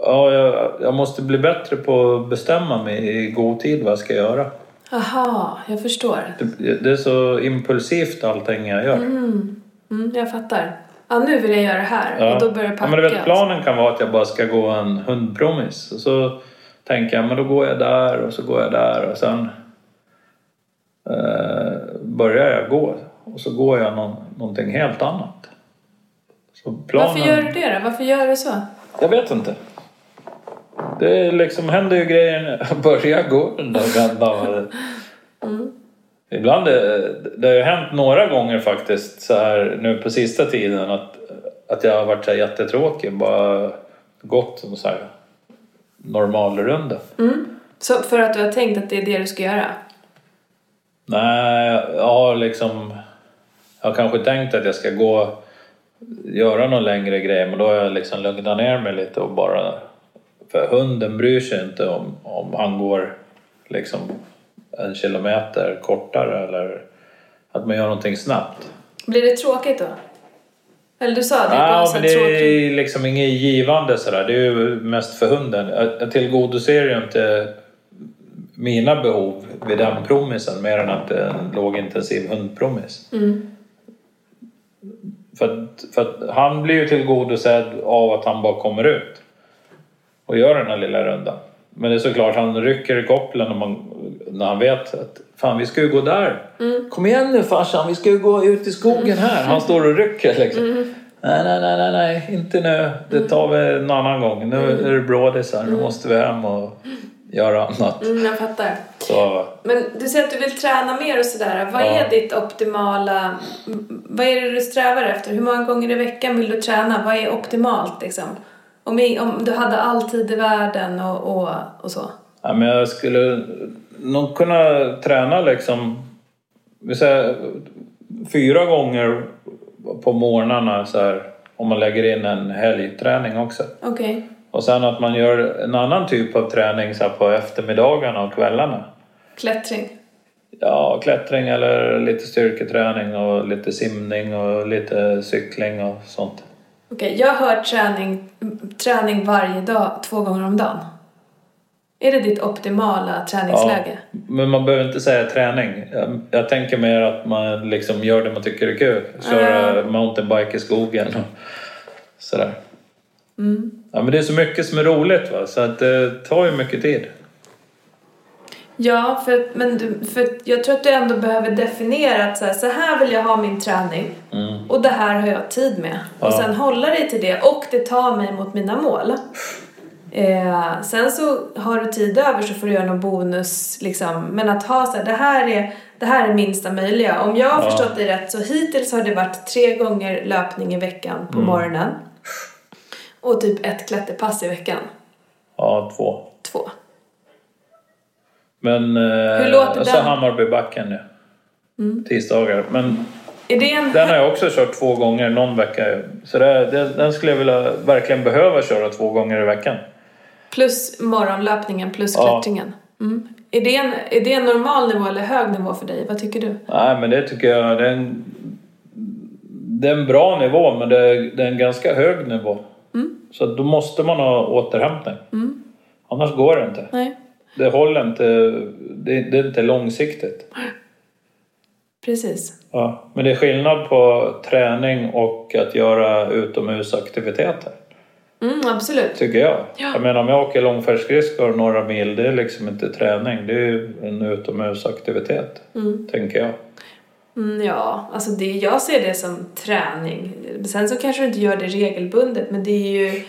S1: Ja, jag, jag måste bli bättre på att bestämma mig i god tid vad jag ska göra.
S2: Aha, jag förstår.
S1: Det, det är så impulsivt allting jag gör.
S2: Mm, jag fattar. Ja, nu vill jag göra det här.
S1: Ja.
S2: Och då börjar jag
S1: ja,
S2: packa.
S1: men du vet, planen kan vara att jag bara ska gå en hundpromis. Och så tänker jag, men då går jag där och så går jag där och sen eh, börjar jag gå. Och så går jag någon, någonting helt annat. Så planen...
S2: Varför gör du det då? Varför gör du så?
S1: Jag vet inte. Det liksom händer ju grejer när jag börjar gå den där vändan. Ibland, eh, det har ju hänt några gånger faktiskt så här nu på sista tiden att, att jag har varit så här jättetråkig. Bara gått en så här normalrunda.
S2: Mm. Så för att du har tänkt att det är det du ska göra?
S1: Nej, jag har liksom... Jag har kanske tänkt att jag ska gå göra någon längre grej men då har jag liksom lugnat ner mig lite och bara... För hunden bryr sig inte om, om han går liksom en kilometer kortare eller att man gör någonting snabbt.
S2: Blir det tråkigt då? Eller du sa att det var
S1: Ja,
S2: så
S1: men
S2: här
S1: det
S2: tråkigt.
S1: är liksom inget givande sådär. Det är ju mest för hunden. Jag- Jag tillgodoser ju inte mina behov vid den promisen mer än att det är en lågintensiv hundpromis. För, att, för att han blir ju tillgodosedd av att han bara kommer ut och gör den här lilla rundan. Men det är såklart, han rycker i kopplen när, man, när han vet att fan vi ska ju gå där. Kom igen nu farsan, vi ska ju gå ut i skogen här. Han står och rycker liksom. Nej, nej, nej, nej, nej, inte nu. Det tar vi en annan gång. Nu är det brådisar, nu måste vi hem och göra annat.
S2: Mm, jag fattar.
S1: Så
S2: Men du säger att du vill träna mer och sådär. Vad
S1: Ja.
S2: är ditt optimala... m- Vad är det du strävar efter? Hur många gånger i veckan vill du träna? Vad är optimalt liksom? Om, i- om du hade all tid i världen och, och, och så.
S1: Ja, men jag skulle nog kunna träna liksom, vi säger, fyra gånger på morgnarna så här, om man lägger in en helgträning också.
S2: Okej.
S1: Och sen att man gör en annan typ av träning så här, på eftermiddagarna och kvällarna.
S2: Klättring.
S1: Ja, klättring eller lite styrketräning och lite simning och lite cykling och sånt.
S2: Okej, jag hör träning, träning varje dag, två gånger om dagen. Är det ditt optimala träningsläge?
S1: men man behöver inte säga träning. Jag, jag tänker mer att man liksom gör det man tycker är kul. Köra mountainbike i skogen och sådär.
S2: Mm.
S1: Ja, men det är så mycket som är roligt va? så att eh, det tar ju mycket tid.
S2: Ja, för, men du, för jag tror att du ändå behöver definiera att så här, så här vill jag ha min träning och det här har jag tid med. Och sen hålla dig till det och det tar mig mot mina mål. Eh, sen så har du tid över så får du göra någon bonus liksom. Men att ha så här, det här är, det här är minsta möjliga. Om jag har förstått dig rätt så hittills har det varit tre gånger löpning i veckan på morgonen. Och typ ett klätterpass i veckan.
S1: Ja, två.
S2: Två.
S1: Men eh,
S2: Hur låter
S1: och så
S2: den? Mm.
S1: Hammarbybacken nu. Tisdagar. Men
S2: Är det en...
S1: den har jag också kört två gånger någon vecka. Så det, det, den skulle jag vilja verkligen behöva köra två gånger i veckan.
S2: Plus morgonlöpningen plus
S1: Ja.
S2: klättringen. Mm. Är, det en, är det en normal nivå eller hög nivå för dig? Vad tycker du?
S1: Nej, men det tycker jag. Det är en, det är en bra nivå, men det är, det är en ganska hög nivå. Så då måste man ha återhämtning. Annars går det inte.
S2: Nej,
S1: Det håller inte. Det, det är inte långsiktigt.
S2: precis.
S1: Ja. Men det är skillnad på träning och att göra utomhusaktiviteter.
S2: Mm, absolut.
S1: Tycker jag. Jag menar om jag åker långfärdsskridskor några mil, det är liksom inte träning. Det är ju en utomhusaktivitet, tänker jag.
S2: Mm, ja, alltså det, jag ser det som träning. Sen så kanske du inte gör det regelbundet men det är ju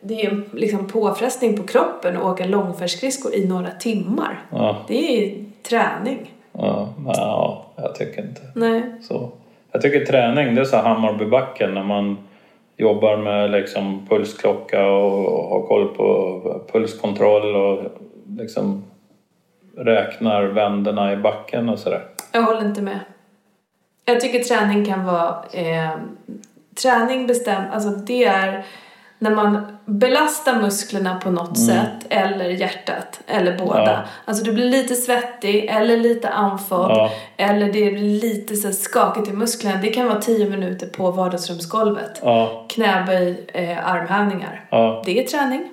S2: det är ju en liksom påfrestning på kroppen att åka långfärdsskridskor i några timmar.
S1: Ja,
S2: Det är ju träning.
S1: ja, ja, jag tycker inte.
S2: Nej.
S1: Så. Jag tycker träning, det är så här Hammarbybacken när man jobbar med liksom pulsklocka och har koll på pulskontroll och liksom räknar vänderna i backen och sådär.
S2: Jag håller inte med. Jag tycker träning kan vara... Eh, träning bestämt, alltså det är när man belastar musklerna på något sätt eller hjärtat eller båda.
S1: Mm. Ja.
S2: Alltså du blir lite svettig eller lite andfådd
S1: Ja.
S2: eller det blir lite så här skakigt i musklerna. Det kan vara 10 minuter på vardagsrumsgolvet.
S1: Ja,
S2: Knäböj, eh, armhävningar.
S1: ja,
S2: Det är träning.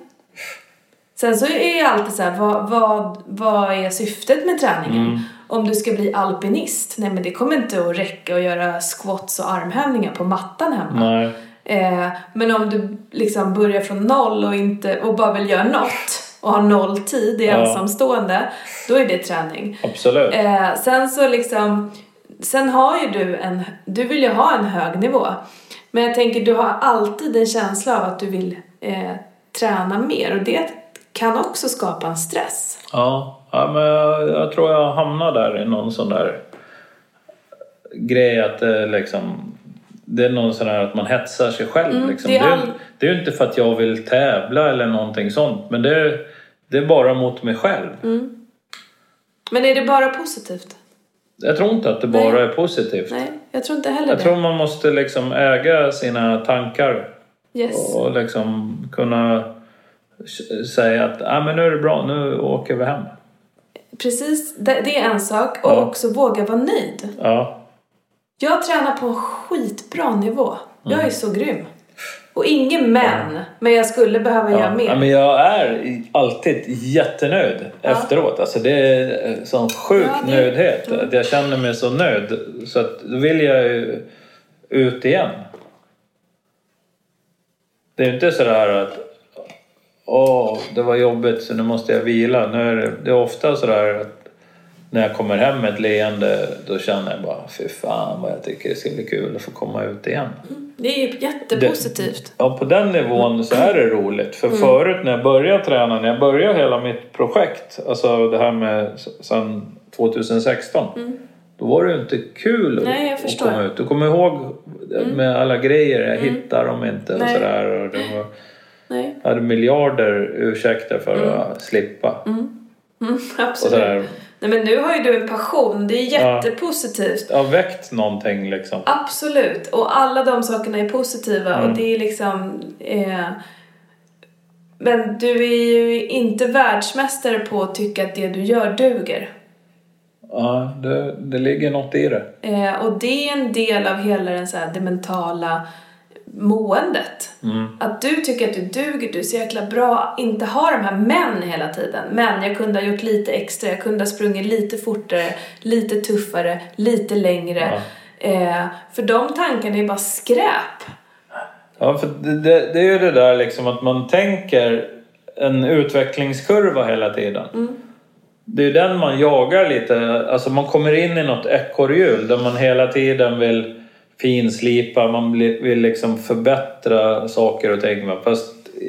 S2: Sen så är jag alltid så här, vad, vad, vad är syftet med träningen?
S1: Mm.
S2: Om du ska bli alpinist, nej men det kommer inte att räcka att göra squats och armhävningar på mattan hemma.
S1: nej.
S2: Eh, men om du liksom börjar från noll och, inte, och bara vill göra något och har noll tid, är
S1: Ja.
S2: ensamstående, då är det träning.
S1: Absolut.
S2: Eh, sen så liksom, sen har ju du en, du vill ju ha en hög nivå. Men jag tänker du har alltid en känsla av att du vill eh, träna mer och det kan också skapa en stress.
S1: Ja, ja men jag, jag tror jag hamnar där i någon sån där grej att det liksom... Det är någon sån här att man hetsar sig själv.
S2: Mm,
S1: liksom.
S2: det
S1: det,
S2: är
S1: är,
S2: all-
S1: det är ju inte för att jag vill tävla eller någonting sånt. Men det är, det är bara mot mig själv.
S2: Mm. Men är det bara positivt?
S1: Jag tror inte att det bara är positivt.
S2: Nej, jag tror inte heller
S1: Jag
S2: det.
S1: tror man måste liksom äga sina tankar
S2: Yes.
S1: och liksom kunna s- säga att ah, men nu är det bra, nu åker vi hem.
S2: Precis, det det är en sak. Och
S1: Ja.
S2: också våga vara nöjd.
S1: Ja,
S2: Jag tränar på en skitbra nivå. Jag
S1: Mm.
S2: är så grym. Och ingen men, men jag skulle behöva
S1: ja.
S2: göra mer.
S1: Ja, men jag är i- alltid jättenöjd efteråt. Alltså det är eh, sån sjuk
S2: Ja, det-
S1: nöjdhet. Att jag känner mig så nöjd så att då vill jag ju ut igen. Det är inte sådär att åh, det var jobbigt så nu måste jag vila. Nu är det, det är ofta sådär att när jag kommer hem med ett leende då känner jag bara fy fan vad jag tycker det ska bli kul att få komma ut igen.
S2: Det är ju jättepositivt.
S1: Ja, på den nivån så är det roligt.
S2: Mm.
S1: För förut när jag började träna, när jag började hela mitt projekt, alltså det här med s- sedan 2016, då var det ju inte kul att-
S2: Mm. Nej, jag
S1: att
S2: förstår. Mm.
S1: komma ut. Du kommer ihåg med alla grejer, jag hittar dem inte och
S2: Nej.
S1: sådär. Och det var,
S2: Nej,
S1: jag hade miljarder ursäkter för
S2: Mm.
S1: att slippa. Och
S2: absolut.
S1: sådär.
S2: Nej, men nu har ju du en passion. Det är
S1: Ja.
S2: jättepositivt.
S1: Jag har väckt någonting liksom.
S2: Absolut. Och alla de sakerna är positiva. Och det är liksom... Eh, men du är ju inte världsmästare på att tycka att det du gör duger.
S1: Ja, det, det ligger något i det.
S2: Eh, och det är en del av hela den, så här, det mentala måendet.
S1: Mm.
S2: Att du tycker att du duger, du är så jäkla bra, inte ha de här men hela tiden. Men jag kunde ha gjort lite extra, jag kunde ha sprungit lite fortare, lite tuffare, lite längre. Eh, för de tankarna är bara skräp.
S1: Ja, för det, det, det är ju det där liksom att man tänker en utvecklingskurva hela tiden. Det är ju den man jagar lite. Alltså man kommer in i något ekorrhjul där man hela tiden vill finslipa, man bli- vill liksom förbättra saker och ting. va. Fast eh,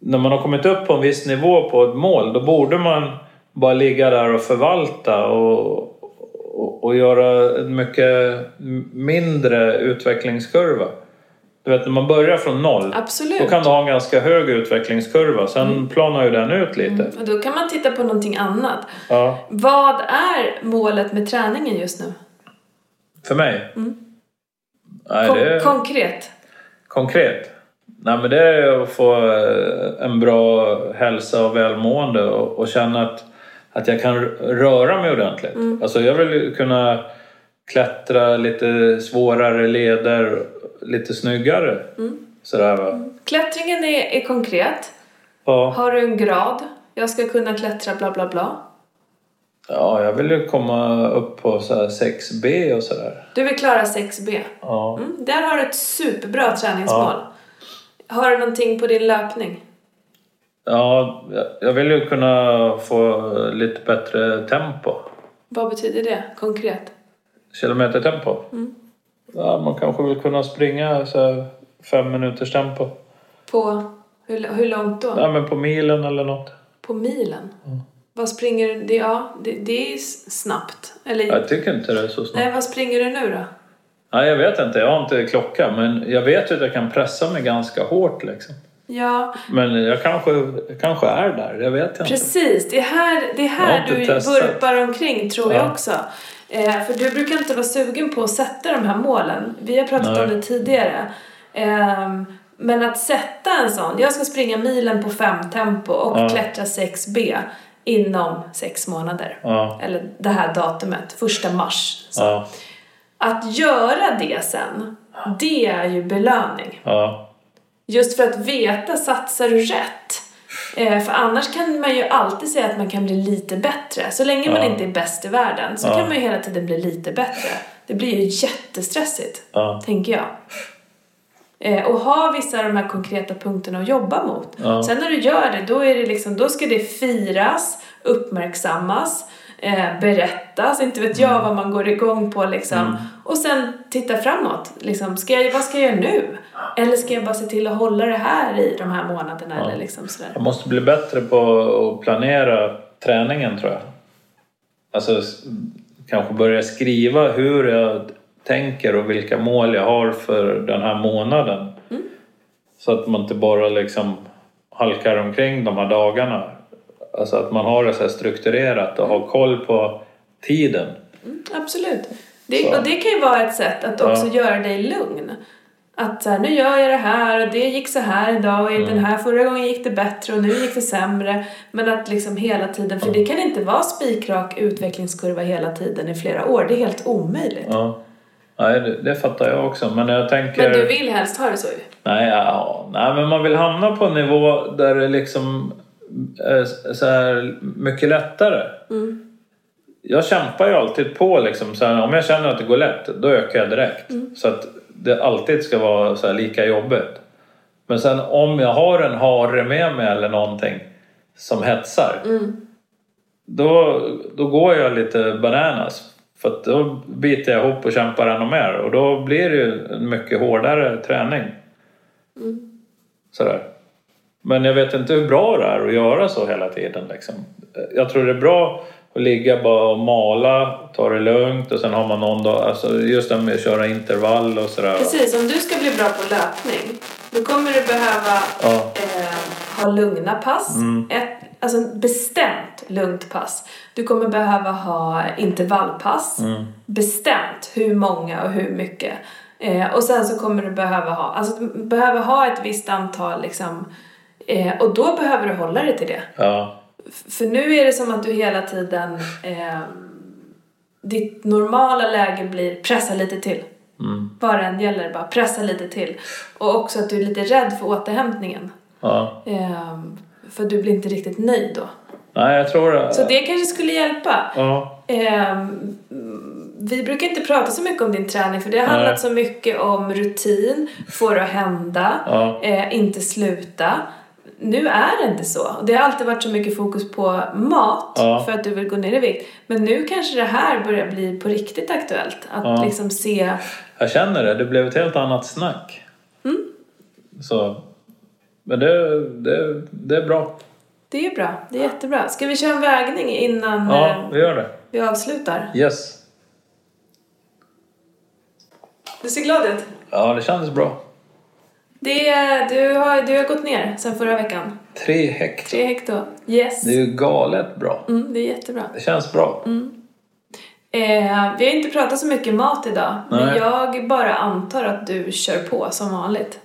S1: när man har kommit upp på en viss nivå på ett mål då borde man bara ligga där och förvalta och, och, och göra en mycket mindre utvecklingskurva. Du vet, när man börjar från noll
S2: Absolut.
S1: då kan du ha en ganska hög utvecklingskurva. Sen planar ju den ut lite.
S2: Och då kan man titta på någonting annat.
S1: Ja,
S2: Vad är målet med träningen just nu?
S1: för mig. Nej,
S2: Kon-
S1: det är
S2: Konkret.
S1: konkret. Nej, men det är att få eh, en bra hälsa och välmående och, och känna att, att jag kan r- röra mig ordentligt. Alltså jag vill ju kunna klättra lite svårare leder, lite snyggare. Sådär va.
S2: Mm. Klättringen är, är konkret.
S1: Ja.
S2: Har du en grad? Jag ska kunna klättra bla bla bla.
S1: ja, jag vill ju komma upp på så här 6B och sådär.
S2: Du vill klara 6B.
S1: Ja.
S2: Mm, där har du ett superbra träningsmål. Har du någonting på din löpning?
S1: Ja, jag- jag vill ju kunna få lite bättre tempo.
S2: Vad betyder det konkret?
S1: Kilometertempo. Ja, man kanske vill kunna springa så här fem minuters tempo.
S2: På hur, hur långt då?
S1: Ja, men på milen eller något.
S2: På milen? Vad springer du? Det, ja, det, det är s- snabbt. Eller,
S1: Jag tycker inte det är så snabbt.
S2: nej, vad springer du nu då?
S1: Nej, jag vet inte. Jag har inte klocka. Men jag vet ju att jag kan pressa mig ganska hårt liksom.
S2: Ja,
S1: Men jag kanske, jag kanske är där. Jag vet inte.
S2: precis. Det är här, det är
S1: Jag har
S2: här
S1: inte
S2: du
S1: testat.
S2: burpar omkring tror jag
S1: Ja.
S2: också. Eh, för du brukar inte vara sugen på att sätta de här målen. Vi har pratat
S1: Nej.
S2: om det tidigare. Ehm, men att sätta en sån, jag ska springa milen på fem tempo och
S1: Ja.
S2: klättra 6B inom sex månader.
S1: Ja.
S2: Eller det här datumet, första mars. Så.
S1: Ja.
S2: Att göra det sen, det är ju belöning.
S1: Ja.
S2: Just för att veta, satsar du rätt? Eh, för annars kan man ju alltid säga att man kan bli lite bättre. Så länge man
S1: Ja.
S2: inte är bäst i världen så
S1: Ja.
S2: kan man ju hela tiden bli lite bättre. Det blir ju jättestressigt,
S1: Ja.
S2: tänker jag. Eh, och ha vissa av de här konkreta punkterna att jobba mot.
S1: Ja.
S2: Sen när du gör det, då, är det liksom, då ska det firas, uppmärksammas, eh, berättas, inte vet jag vad man går igång på liksom. Och sen titta framåt, liksom, ska jag, vad ska jag göra nu? Eller ska jag bara se till att hålla det här i de här månaderna eller liksom sådär.
S1: Jag måste bli bättre på att planera träningen tror jag. Alltså s- kanske börja skriva hur jag tänker och vilka mål jag har för den här månaden.
S2: Mm.
S1: Så att man inte bara liksom halkar omkring de här dagarna. Alltså att man har det så här strukturerat och har koll på tiden.
S2: Absolut. Det,
S1: Så.
S2: och det kan ju vara ett sätt att också göra dig lugn. Att så här, nu gör jag det här och det gick så här idag och i den här förra gången gick det bättre och nu gick det sämre. Men att liksom hela tiden, för det kan inte vara spikrak utvecklingskurva hela tiden i flera år. Det är helt omöjligt.
S1: Ja. Nej, det, det fattar jag också. Men jag tänker...
S2: Men du vill helst ha det så ju.
S1: Nej, ja, nej, men man vill hamna på en nivå där det liksom är så här mycket lättare. Jag kämpar ju alltid på liksom. Så här, om jag känner att det går lätt, då ökar jag direkt. Så att det alltid ska vara så här lika jobbigt. Men sen om jag har en hare med mig eller någonting som hetsar. Då, då går jag lite bananas. För att då biter jag ihop och kämpar ännu mer. Och då blir det ju en mycket hårdare träning. Sådär. Men jag vet inte hur bra det är att göra så hela tiden. Liksom. Jag tror det är bra att ligga bara och mala, ta det lugnt och sen har man någon dag, alltså just det med att köra intervall och sådär.
S2: Precis, om du ska bli bra på löpning då kommer du behöva
S1: Ja.
S2: eh, ha lugna pass. Ett, alltså ett bestämt lugnt pass. Du kommer behöva ha intervallpass. Bestämt hur många och hur mycket. Eh, och sen så kommer du behöva ha, alltså, du behöver ha ett visst antal liksom, eh, och då behöver du hålla dig till det.
S1: Ja,
S2: För nu är det som att du hela tiden... Eh, ditt normala läge blir pressa lite till. Mm. Vad det än gäller, bara pressa lite till. Och också att du är lite rädd för återhämtningen.
S1: ja.
S2: Eh, för du blir inte riktigt nöjd då.
S1: Nej, jag tror det.
S2: Så det kanske skulle hjälpa.
S1: Ja,
S2: Ehm, vi brukar inte prata så mycket om din träning för det har handlat
S1: Nej.
S2: så mycket om rutin, få det att hända,
S1: Ja.
S2: eh, inte sluta. Nu är det inte så. Det har alltid varit så mycket fokus på mat
S1: Ja.
S2: för att du vill gå ner i vikt. Men nu kanske det här börjar bli på riktigt aktuellt. Att
S1: Ja.
S2: liksom se...
S1: jag känner det. Det blev ett helt annat snack. Så, men det, det, det är bra.
S2: Det är bra. Det är jättebra. Ska vi köra en vägning innan
S1: Ja,
S2: eh,
S1: vi gör det.
S2: vi avslutar?
S1: Yes.
S2: Du ser glad ut.
S1: Ja, det kändes bra.
S2: Det, är- du, har, du har gått ner sen förra veckan.
S1: Tre hektar.
S2: Tre hekto. Yes.
S1: Det är ju galet bra.
S2: Mm, det är jättebra.
S1: Det känns bra.
S2: Eh, vi har inte pratat så mycket mat idag, men
S1: Nej.
S2: jag bara antar att du kör på som vanligt.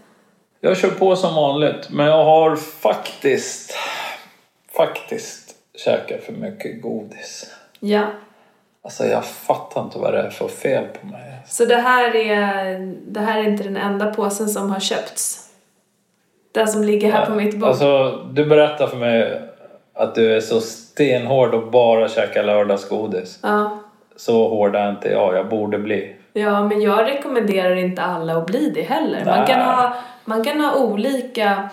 S1: Jag kör på som vanligt, men jag har faktiskt, faktiskt käkat för mycket godis.
S2: Ja.
S1: Alltså jag fattar inte vad det är för fel på mig.
S2: Så det här är, det här är inte den enda påsen som har köpts. Den som ligger här på mitt bord.
S1: Alltså, du berättar för mig att du är så stenhård och bara käkar lördagsgodis.
S2: Ja.
S1: Så hård är inte jag, jag borde bli.
S2: ja, men jag rekommenderar inte alla att bli det heller. Man
S1: Nej.
S2: kan, ha, man kan ha olika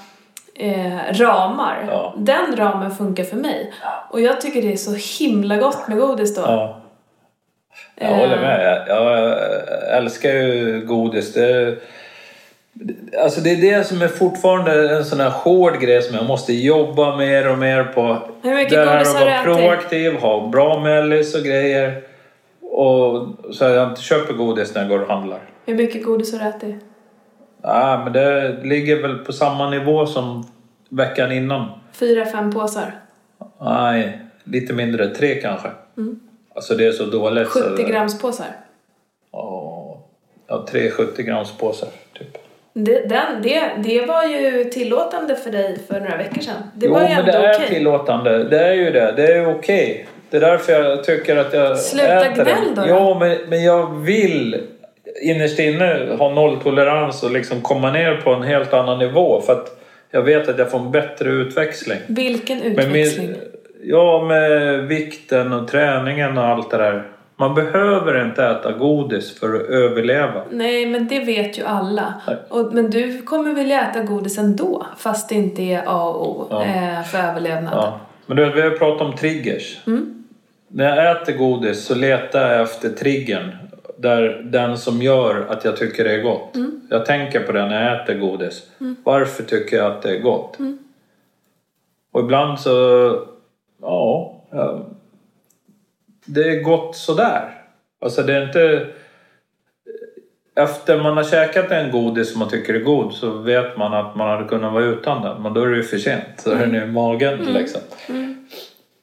S2: eh, ramar.
S1: Ja.
S2: Den ramen funkar för mig. Och jag tycker det är så himla gott med godis då.
S1: Ja.
S2: Eh.
S1: Jag håller med. Jag, jag älskar ju godis. Det, alltså det är det som är fortfarande en sån här hård grej som jag måste jobba mer och mer på.
S2: Hur mycket
S1: det här
S2: godis
S1: att
S2: har du
S1: vara
S2: ätit?
S1: proaktiv, ha bra mellis och grejer. Och så att jag inte köper godis när jag går och handlar.
S2: Hur mycket godis har du ätit?
S1: Ja, men det ligger väl på samma nivå som veckan innan.
S2: Fyra, fem påsar?
S1: Nej, lite mindre. Tre kanske.
S2: Mm.
S1: Alltså det är så dåligt. så-
S2: 70 grams påsar.
S1: Ja, ja, tre 70 grams påsar typ.
S2: Det, den, det, det var ju tillåtande för dig för några veckor sedan. Det
S1: jo,
S2: var ju
S1: men
S2: ändå
S1: det är
S2: okej.
S1: tillåtande. Det är ju det. Det är okej. Det är därför jag tycker att jag
S2: Sluta
S1: äter
S2: gnäll då.
S1: det. Ja, men, men jag vill innerst inne ha nolltolerans och liksom komma ner på en helt annan nivå. För att jag vet att jag får en bättre utväxling.
S2: Vilken
S1: Men
S2: utväxling.
S1: min, ja, med vikten och träningen och allt det där. Man behöver inte äta godis för att överleva.
S2: Nej, men det vet ju alla. Och, men du kommer vilja äta godis ändå, fast det inte är A och O eh, för överlevnad.
S1: Ja. Men du vet, vi har pratat om triggers. när jag äter godis så letar jag efter triggern. Där den som gör att jag tycker det är gott. Jag tänker på det när jag äter godis. Varför tycker jag att det är gott? Och ibland så... Ja, ja. Det är gott sådär. Alltså det är inte... Efter man har käkat en godis som man tycker är god så vet man att man hade kunnat vara utan den. Men då är det ju för sent. Så är den ju i magen
S2: Mm.
S1: liksom.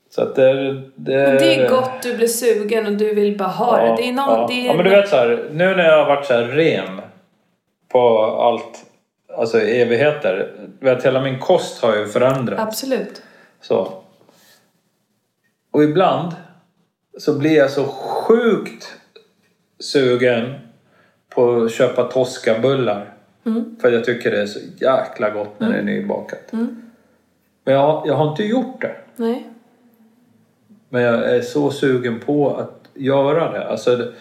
S1: Så att det, det,
S2: Det är gott, du blir sugen och du vill bara ha det. Det är någon,
S1: Eh. ja.
S2: det är
S1: ja, men du vet så här, nu när jag har varit så här ren på allt, alltså i evigheter. Du vet, hela min kost har ju förändrats.
S2: Absolut.
S1: Så. Och ibland så blir jag så sjukt sugen på att köpa Toscabullar. För jag tycker det är så jäkla gott när det är nybakat. Men jag, jag har inte gjort det.
S2: Nej.
S1: Men jag är så sugen på att göra det. Alltså, det,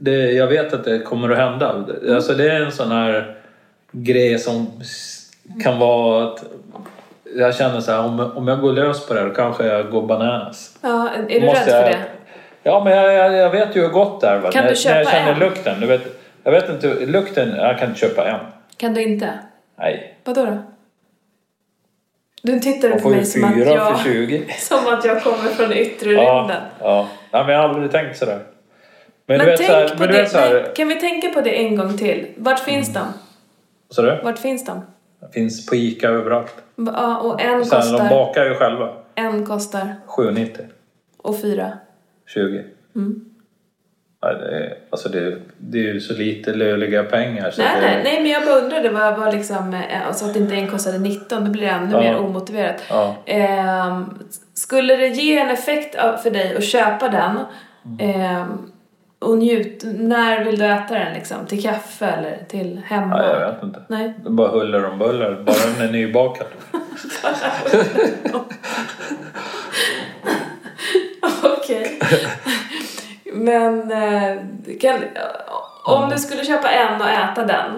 S1: det jag vet att det kommer att hända. Alltså, det är en sån här grej som s- kan vara att jag känner så här, om, om jag går lös på det här då kanske jag går bananas.
S2: Ja, är du
S1: Måste
S2: rädd för
S1: jag-
S2: det?
S1: Ja, men jag, jag, jag vet ju hur gott det är. Va?
S2: Kan
S1: när,
S2: du köpa
S1: när jag känner
S2: en?
S1: lukten. Du vet, jag vet inte, lukten, jag kan inte köpa en.
S2: Kan du inte?
S1: Nej.
S2: Vadå då? Du tittar
S1: Man
S2: på
S1: får ju
S2: mig som att,
S1: fyra
S2: jag,
S1: för 20.
S2: som att jag kommer från yttre
S1: Ja,
S2: rymden.
S1: ja. Nej, men jag har aldrig tänkt sådär. Men,
S2: Men
S1: du vet
S2: tänk
S1: så här,
S2: på
S1: men du
S2: det.
S1: vet så här, Mm.
S2: Nej, kan vi tänka på det en gång till? Vart finns
S1: så du?
S2: de? Vart finns de?
S1: Finns på Ica överallt.
S2: Ja, och en
S1: Sen, de
S2: kostar.
S1: bakar ju själva.
S2: En kostar.
S1: 7,90.
S2: Och fyra.
S1: 20.
S2: Mm.
S1: Nej, det är, alltså det, det är ju så lite löjliga pengar. Så
S2: Nej,
S1: det,
S2: nej, nej, men jag bara undrade vad, vad liksom, eh, alltså att inte en kostade 19, då blir det ännu
S1: Ja.
S2: mer omotiverat.
S1: Ja.
S2: Ehm, skulle det ge en effekt av- för dig att köpa den
S1: Mm.
S2: ehm, och njut, när vill du äta den liksom? Till kaffe eller till hemma?
S1: Nej, jag vet inte.
S2: Nej.
S1: Det är bara huller om buller. Bara den är nybakad.
S2: Okej. Men eh, kan, om du skulle köpa en och äta den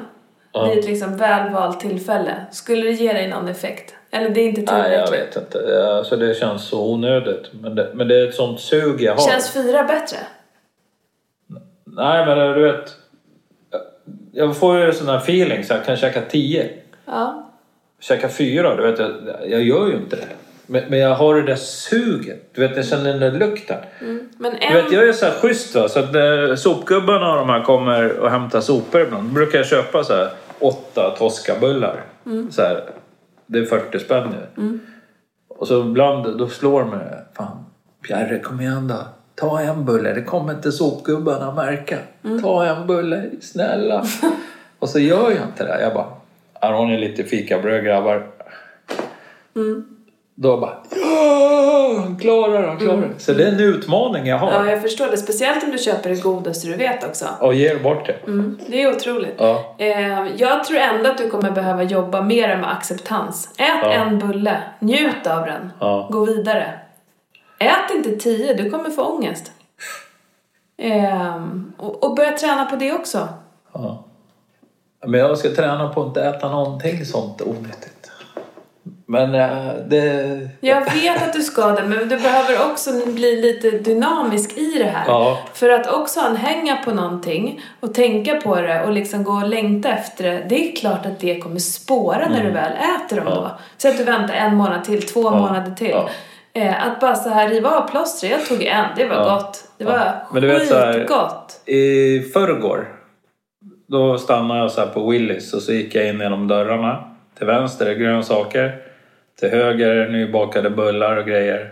S2: vid ett liksom välvalt tillfälle, skulle det ge dig någon effekt? Eller det är inte
S1: Nej, jag
S2: tillräckligt?
S1: vet inte. Alltså det känns så onödigt. Men det, men det är ett sånt sug jag har.
S2: Känns fyra bättre?
S1: Nej, men du vet. Jag får ju sån här feeling så jag kan käka 10.
S2: Ja.
S1: käka fyra, du vet, jag, jag gör ju inte det. Men, men jag har det där suget, du vet jag känner den där lukten.
S2: Men
S1: Du
S2: en...
S1: vet jag är så här schysst va, så att när sopgubbarna och de här kommer och hämtar sopor ibland, då brukar jag köpa så här åtta Toscabullar. Så här, det är 40 spänn nu. Och så ibland, då slår det mig, fan Bjerre kom igen då. Ta en bulle, det kommer inte sopgubbarna märka. Ta en bulle, snälla. och så gör jag inte det. Jag bara, här har ni lite fikabröd grabbar. Då bara, ja, han klarar det, han klarar det. Så det är en utmaning jag har.
S2: Ja, jag förstår det. Speciellt om du köper det godaste du vet också.
S1: Och ger bort det.
S2: Mm, det är otroligt.
S1: Ja.
S2: Eh, jag tror ändå att du kommer behöva jobba mer med acceptans. Ät en bulle, njut av den,
S1: Ja.
S2: gå vidare. Ät inte tio, du kommer få ångest. Ehm, och, och börja träna på det också.
S1: Ja. Men jag ska träna på att inte äta någonting sånt onyttigt. Men eh, det...
S2: Jag vet att du ska det, men du behöver också bli lite dynamisk i det här.
S1: Ja.
S2: För att också anhänga på någonting och tänka på det och liksom gå och längta efter det. Det är klart att det kommer spåra när du väl äter dem då. Så att du väntar en månad till, två månader till.
S1: Mm. Ja.
S2: Eh, Att bara så här riva av plåstret. Jag tog en, det var gott. Det var
S1: Men du vet så här-
S2: skitgott.
S1: I förrgår, då stannade jag så här på Willys och så gick jag in genom dörrarna. Till vänster är grönsaker, till höger är nybakade bullar och grejer.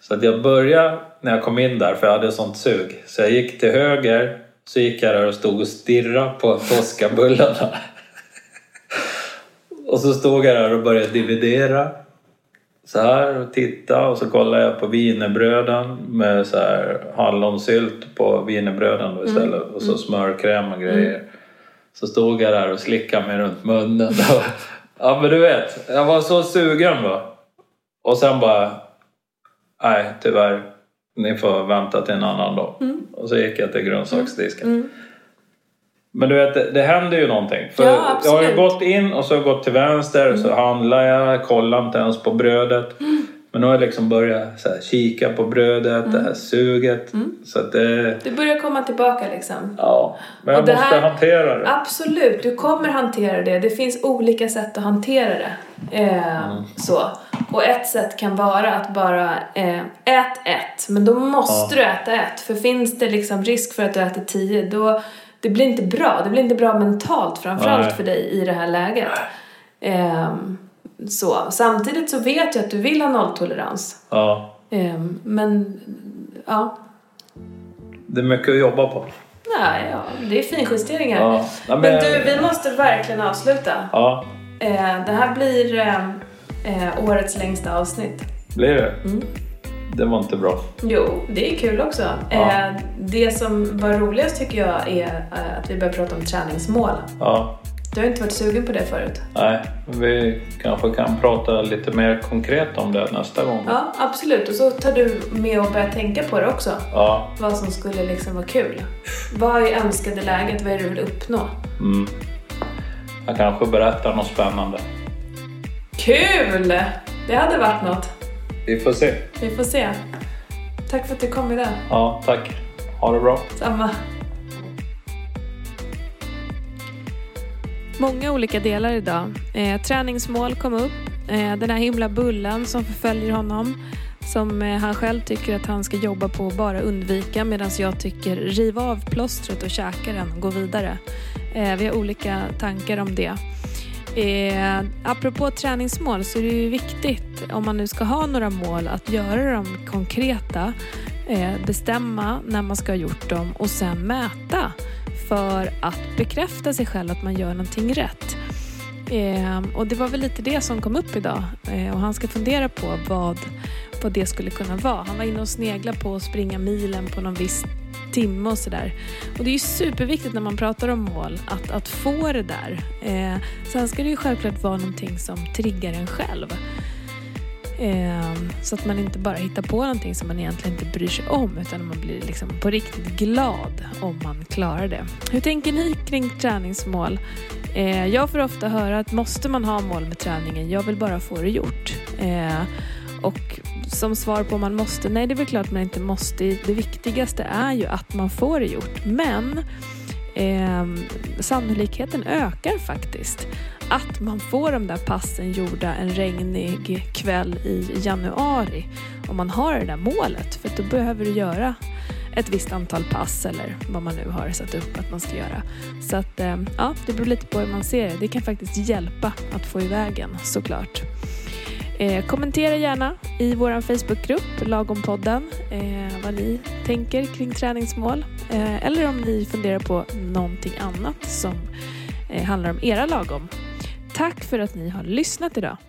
S1: Så att jag började när jag kom in där, för jag hade sånt sug. Så jag gick till höger, så gick jag där och stod och stirrade på Toscabullarna. och så stod jag där och började dividera. Så här och titta och så kollade jag på wienerbröden med så här hallonsylt på wienerbröden då istället och så smörkräm och grejer. Så stod jag där och slickade mig runt munnen. ja men du vet, jag var så sugen va. Och sen bara, nej tyvärr, ni får vänta till en annan dag.
S4: Mm.
S1: Och så gick jag till grönsaksdisken. Mm. Men du vet, det, det händer ju någonting. För
S2: Ja,
S1: jag har ju
S2: absolut.
S4: Mm.
S1: gått in och så har jag gått till vänster, så handlar jag, kollar inte ens på brödet. Men nu har jag liksom börjat så här, kika på brödet,
S4: Mm.
S1: det här suget. Så att det...
S4: Du börjar komma tillbaka liksom.
S1: Ja, men jag
S4: Och det
S1: måste
S4: här-
S1: hantera det.
S4: Absolut, du kommer hantera det. Det finns olika sätt att hantera det. Eh,
S1: Mm.
S4: så. Och ett sätt kan vara att bara eh, ät ett, men då måste du äta ett. För finns det liksom risk för att du äter tio, då det blir inte bra. Det blir inte bra mentalt framförallt
S1: Nej.
S4: för dig i det här läget. Ehm, så. Samtidigt så vet jag att du vill ha nolltolerans.
S1: Ja,
S4: Ehm, men ja,
S1: det är mycket att jobba på.
S4: nej, ja, det är finjusteringar.
S1: Ja. Ja,
S4: men... du, vi måste verkligen avsluta.
S1: Ja,
S4: Eh, det här blir eh, eh, årets längsta avsnitt.
S1: blir det?
S4: Mm.
S1: Det var inte bra.
S4: Jo, det är kul också.
S1: Ja.
S4: Eh, det som var roligast tycker jag är eh, att vi börjar prata om träningsmål.
S1: Ja,
S4: Du har inte varit sugen på det förut.
S1: nej. Vi kanske kan prata lite mer konkret om det nästa gång.
S4: Ja, absolut. Och så tar du med och börjar tänka på det också.
S1: Ja,
S4: Vad som skulle liksom vara kul. Vad är önskade läget? Vad är det du vill uppnå?
S1: mm. Jag kanske berättar något spännande.
S4: Kul! Det hade varit något.
S1: Vi får se.
S4: Vi får se. Tack för att du kom idag.
S1: Ja, tack. Ha det bra.
S4: Samma.
S2: Många olika delar idag. Eh, träningsmål kom upp. Eh, den här himla bullen som förföljer honom. Som eh, han själv tycker att han ska jobba på och bara undvika. Medan jag tycker riva av plåstret och käka den och gå vidare. Eh, vi har olika tankar om det. Eh, apropå träningsmål så är det ju viktigt om man nu ska ha några mål att göra dem konkreta. Eh, bestämma när man ska ha gjort dem och sen mäta för att bekräfta sig själv att man gör någonting rätt. Eh, och det var väl lite det som kom upp idag eh, och han ska fundera på vad, vad det skulle kunna vara. Han var inne och sneglade på att springa milen på någon viss timme och sådär. Och det är ju superviktigt när man pratar om mål att, att få det där. Eh, sen ska det ju självklart vara någonting som triggar en själv. Ehm, Så att man inte bara hittar på någonting som man egentligen inte bryr sig om utan man blir liksom på riktigt glad om man klarar det. Hur tänker ni kring träningsmål? Eh, Jag får ofta höra att måste man ha mål med träningen? Jag vill bara få det gjort. Eh, Och som svar på om man måste? Nej, det är väl klart man inte måste. Det viktigaste är ju att man får det gjort. Men ehm, sannolikheten ökar faktiskt att man får de där passen gjorda en regnig kväll i januari om man har det där målet. För att då behöver du göra ett visst antal pass eller vad man nu har satt upp att man ska göra. Så att eh, ja, det beror lite på hur man ser det. Det kan faktiskt hjälpa att få iväg en såklart. Eh, kommentera gärna i vår Facebookgrupp Lagompodden eh, vad ni tänker kring träningsmål eh, eller om ni funderar på någonting annat som eh, handlar om era lagom. Tack för att ni har lyssnat idag.